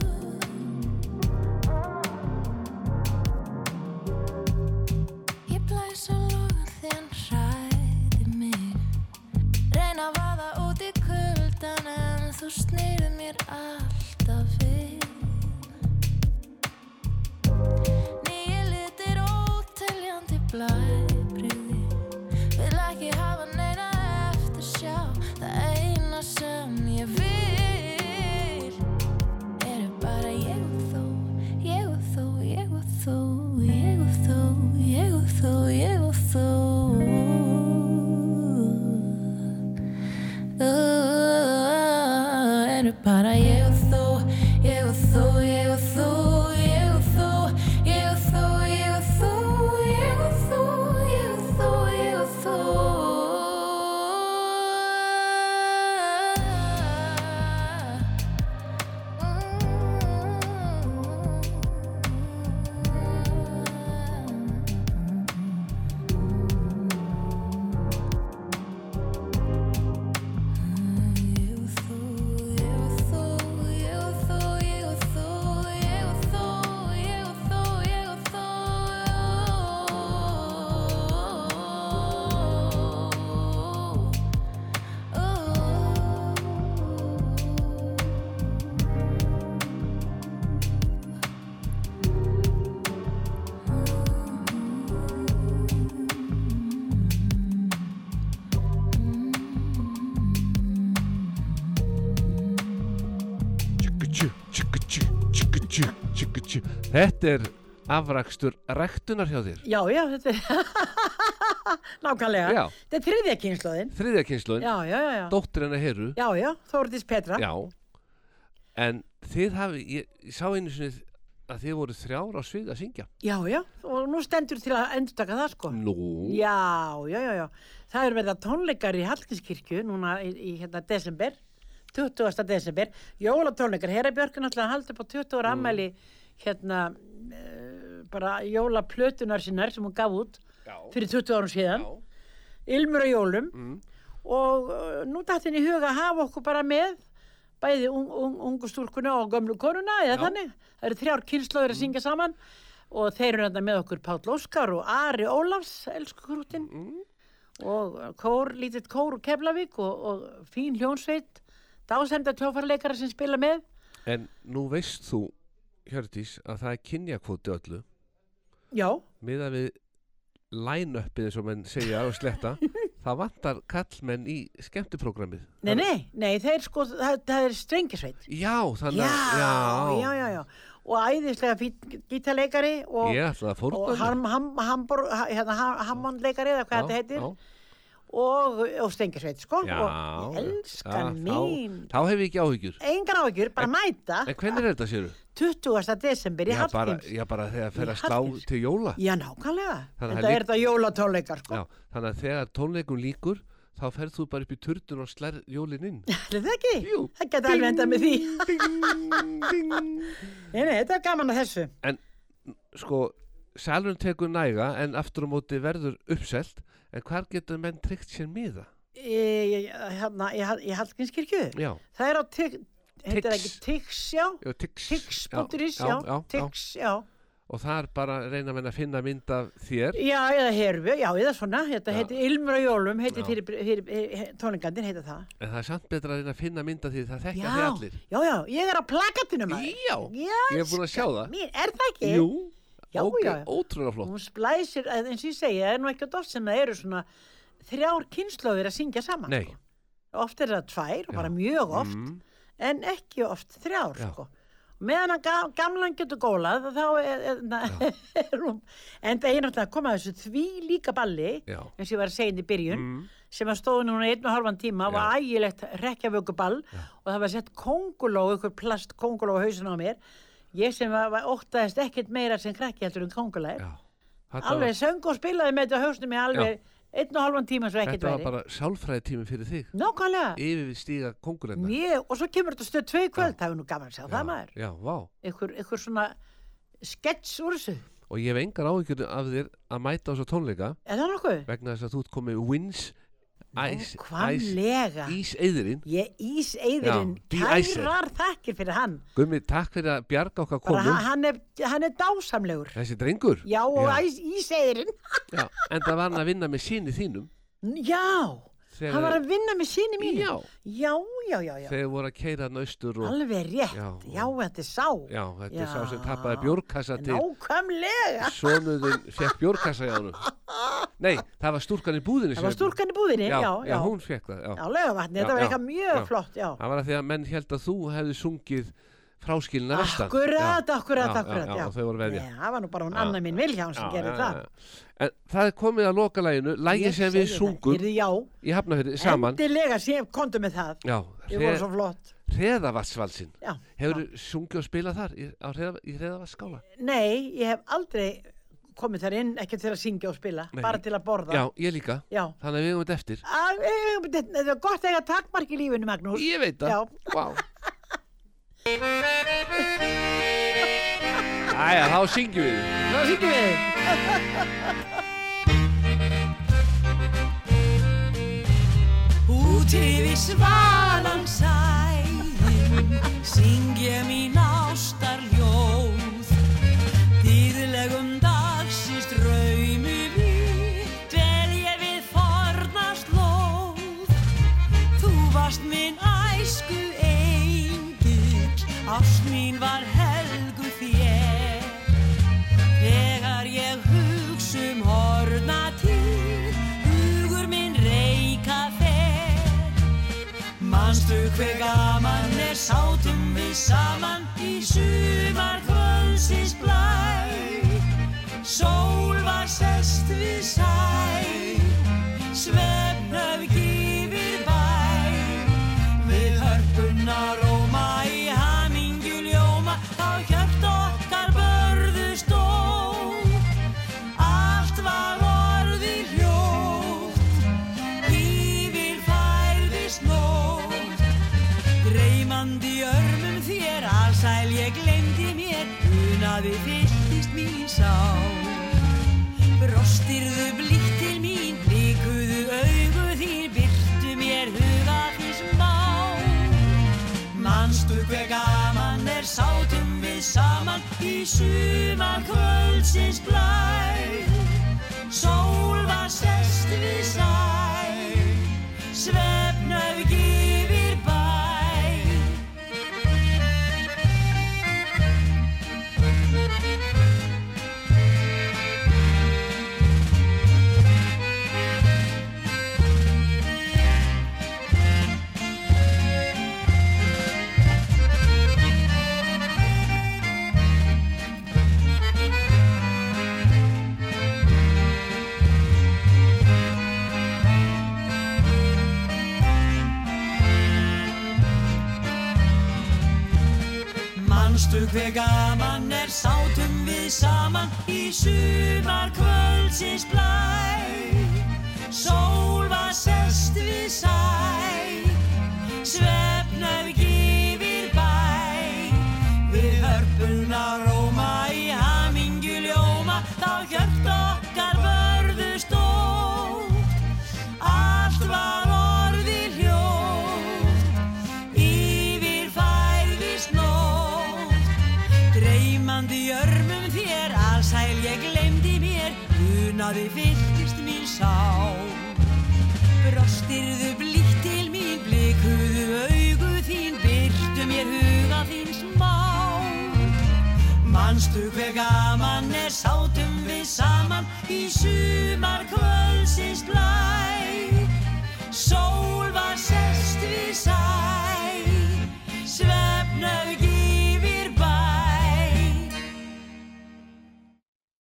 Ég blæs á logan þegar hann hræðir mig Reyna að vaða út í kuldan en þú snýrð mér alltaf við Nýju litir óteljandi blæbrigði Vil ekki hafa neina eftir sjá Það eina sem ég vil Eru bara ég og þú Ég og þú, ég og þú Ég og þú, ég og þú, ég og þú Uh, Eru bara ég og þú Ég og þú, ég og þú Ég og þú, ég og þú Ég og þú, ég og þú Ég og þú, ég og þú
Tjúkutjú, tjúkutjú, tjúkutjú, tjúkutjú. Þetta er afrakstur rektunar hjá þér
Já, já, þetta er nákvæmlega.
Já.
Þetta er þriðja kynnslóðin.
þriðja kynsluðin,
Já, já, já, já.
dóttir hennar heru
Já, já, Þórdís Petra.
Já, en þið hafi, ég, ég sá einu sinni að þið voru þrjár á svið að syngja.
já, já, og nú stendur til að endurtaka það sko.
Nú,
Já, já, já, já. Það er verið að tónleikar í Hallgrímskirkju núna í, í hérna desember, 20. desember, jólatónleikar. Herra Björk er náttúrulega að halda upp á 20 ára ammæli hérna uh, bara jólaplötunar sinnar sem hún gaf út
Já.
fyrir 20 árum síðan. Ilmur og jólum og uh, nú dætti henni í huga að hafa okkur bara með bæði un, un, ungu stúlkuna og gömlu konuna eða þannig, það eru þrjár kynslaður að syngja saman og þeir eru þetta með okkur Páll Óskar og Ari Ólafs elsku krútin og uh, kór, lítið kór úr Keflavík og, og fín hljónsveit dásenda tjófarleikara sem spila með
En nú veist þú, Hjördís, að það er kynjakvóti öllu
já,
miða við line-upið eins og menn segja og sletta það vantar kallmenn í skemmtiprógrammið
nei, nei, nei þeir sko, það, það er strengisveit
Já, þannig
já,
að
já, já, já og æðislega fín gítarleikari og,
Ég ætla að
og
fórna
ham, ham, hambor, ha- hérna, ha- hammondleikari eða hvað þetta heitir og, og stengisveit sko
Já,
og ég elska
já,
mín
þá, þá hef ég ekki áhyggjur
engan áhyggjur, bara mæta
En hvernig er þetta, séru?
20. desember í
Já, bara,
Hallgríms
já, bara þegar fer
Í
að slá
Hallgríms.
til jóla
já, nákvæmlega,
Þannig að
þetta
lík-
er þetta jólatónleikar sko,
já, Þannig að þegar tónleikum líkur þá ferð þú bara upp í turdun og slær jólin inn
er það ekki?
Jú.
það geta alveg endað með því
Ding, ding.
nei, nei, þetta er gaman að þessu
Sko, salun tekur næga en aftur á móti verður uppselt en hvar getur menn tryggt sér miða?
í, hérna, í, Hall- í Hallgrímskirkju
Já,
það er á Tix heitir það ekki
Tix.
Tix, já
já tix
Tix.is, já,
já,
Tix, já
og þar bara reyna menn að finna mynd af þér
já, eða herfi, já, eða svona þetta
Já.
heitir Ilmur og Jólum heitir
Já.
fyrir, fyrir, fyrir tónleikandinn, heitir það
en það er samt betra að reyna að finna mynd af því það
já,
þekkja þið allir
já, já, ég er á plakatinu maður
Já, ég er búin að sjá það
Mín, sko, er það ekki?
Jú,
Já,
ok,
já, já.
ótrúlega flott
Hún splæsir, að eins og ég segi, það er nú ekkert oft sem það eru svona þrjár kynslóðir að syngja saman.
Nei.
sko. Oft er það tvær og
Já.
bara mjög oft,
Mm.
en ekki oft þrjár,
Já.
sko. Meðan að ga- gamlan getur gólað, þá er, er, na, er hún, en það er náttúrulega að koma að þessu því líka balli,
Já,
eins og ég var að segja inn í byrjun,
mm.
sem að stóðu núna í einu og halvan tíma
Já.
var ægilegt rekjavökuball og það var sett konguló, ykkur plast konguló á hausinu á mér ég sem var, var óttaðist ekkert meira sem krakki heldur en kongulær
já Þetta
alveg söng og spilaði með þetta á hausnum í alveg einn og halvan tíma svo
var,
ekkert
þetta var
væri
bara sálfræði tími fyrir þig
nákvæmlega,
yfir við stíga kongurinn
mjög, og svo kemur þetta stöð tvei kvöld það er nú gaman að sjá það maður
Já, vá
ykkur, ykkur svona skets úr þessu
og ég hef engar áhyggjur af þér að mæta á þessa tónleika
er það nokkuð?
vegna þess að þú ert komið wins ice, ice,
Nákvæmlega
ís eðirinn
ég ís eðurinn
Já, de-icer.
kærar þakkir fyrir hann
Gummi, takk fyrir að bjarga okkar
bara
konu
hann- hann er, hann er dásamlegur
þessi drengur
Já, og
Já.
ís- ísæðirinn.
Já, en það var hann að vinna með síni þínum
Já,
þegar,
hann var að vinna með síni mínu.
Já.
já, já, já. já.
þegar voru að keira naustur og
Alveg rétt.
Já.
Já, þetta er sá.
já, þetta er
Já.
sá sem tapaði bjórkassa til
Nákvæmlega.
sonuðin fekk bjórkassa hjá hann nei, það var stúrkan í búðinni
Það var
sem-
stúrkan í búðinni.
já,
Já, já.
hún fekk það já.
Já, laugavatni,
Já,
þetta var
já,
eitthvað mjög
já.
flott, já.
það var að því að menn held að þú hefði sungið fráskilna vestan Já,
Akkurat, akkurat,
já,
akkurat,
já,
já.
og þau voru að veðja.
Nei, Það var nú bara hún
Já.
Anna mín Viljáns
Já,
sem gerði
já,
það.
já, já. En það er komið að loka læginu, lægi sem við sungum
Yrði, já,
í Hafnafjörði saman.
endilega sem komdu með það.
Já,
Þið voru svo flott.
Hreðavatsvalsinn.
Já.
Hefur þú sungið og spilað þar í, á hreða, í Hreðavatskála?
Nei, ég hef aldrei komið þar inn, ekki til að syngja og spila,
Nei.
bara til að borða.
Já, ég líka.
Já.
Þannig að við höfum þetta eftir.
Að- eh, Þetta þetta er gott að eiga takmark í lífinu, Magnús.
Ég veit það.
Já.
Vá. Æja, þá syngjum við.
Þá syngjum við.
Út yfir svalan sæðin syng ég mín ástar ljóð Dýðlegum dagsins draumi mín dvel ég við fornast lóð Þú varst minn æsku engill ást mín var helgu þér Þegar ég hugsa um horna til, hugur minn reyka fer. Manstu hver gaman er sátum við saman í sumar kvöldsins blæ. Sól var sest við sæ, svefnöf gífir bæ. Við hörpuna róma í hamingju ljóma á hjört okkar börðu stóð. Allt var orðið hljótt, yfir færðist nótt. Dreymandi í örmum þér, alsæl ég glemdi mér, unaði fylltist mín sál. Brostirðu blítt til mín, blíkuðu augu þín, byrtu mér sumar kvöldsins blæð Sól var sest við sæ Svefnöf gifir bæ Manstu hver gaman er sátum við saman í sumar kvöldsins blæ Sól var sest við sæ Svefnöf gifir bæ Við hörpun að róma í hamingju ljóma Þá hjört okkar vörðu stótt Allt var orðið hljótt Yfir færðist nótt Dreymandi örmum þér Alsæl ég glemdi mér Unaði fylltist mín sá Brostirðu blítt til mín Blikuðu augu þín Byrtu mér huga þín smá Manstu hver gaman er Sátum við saman Í sumar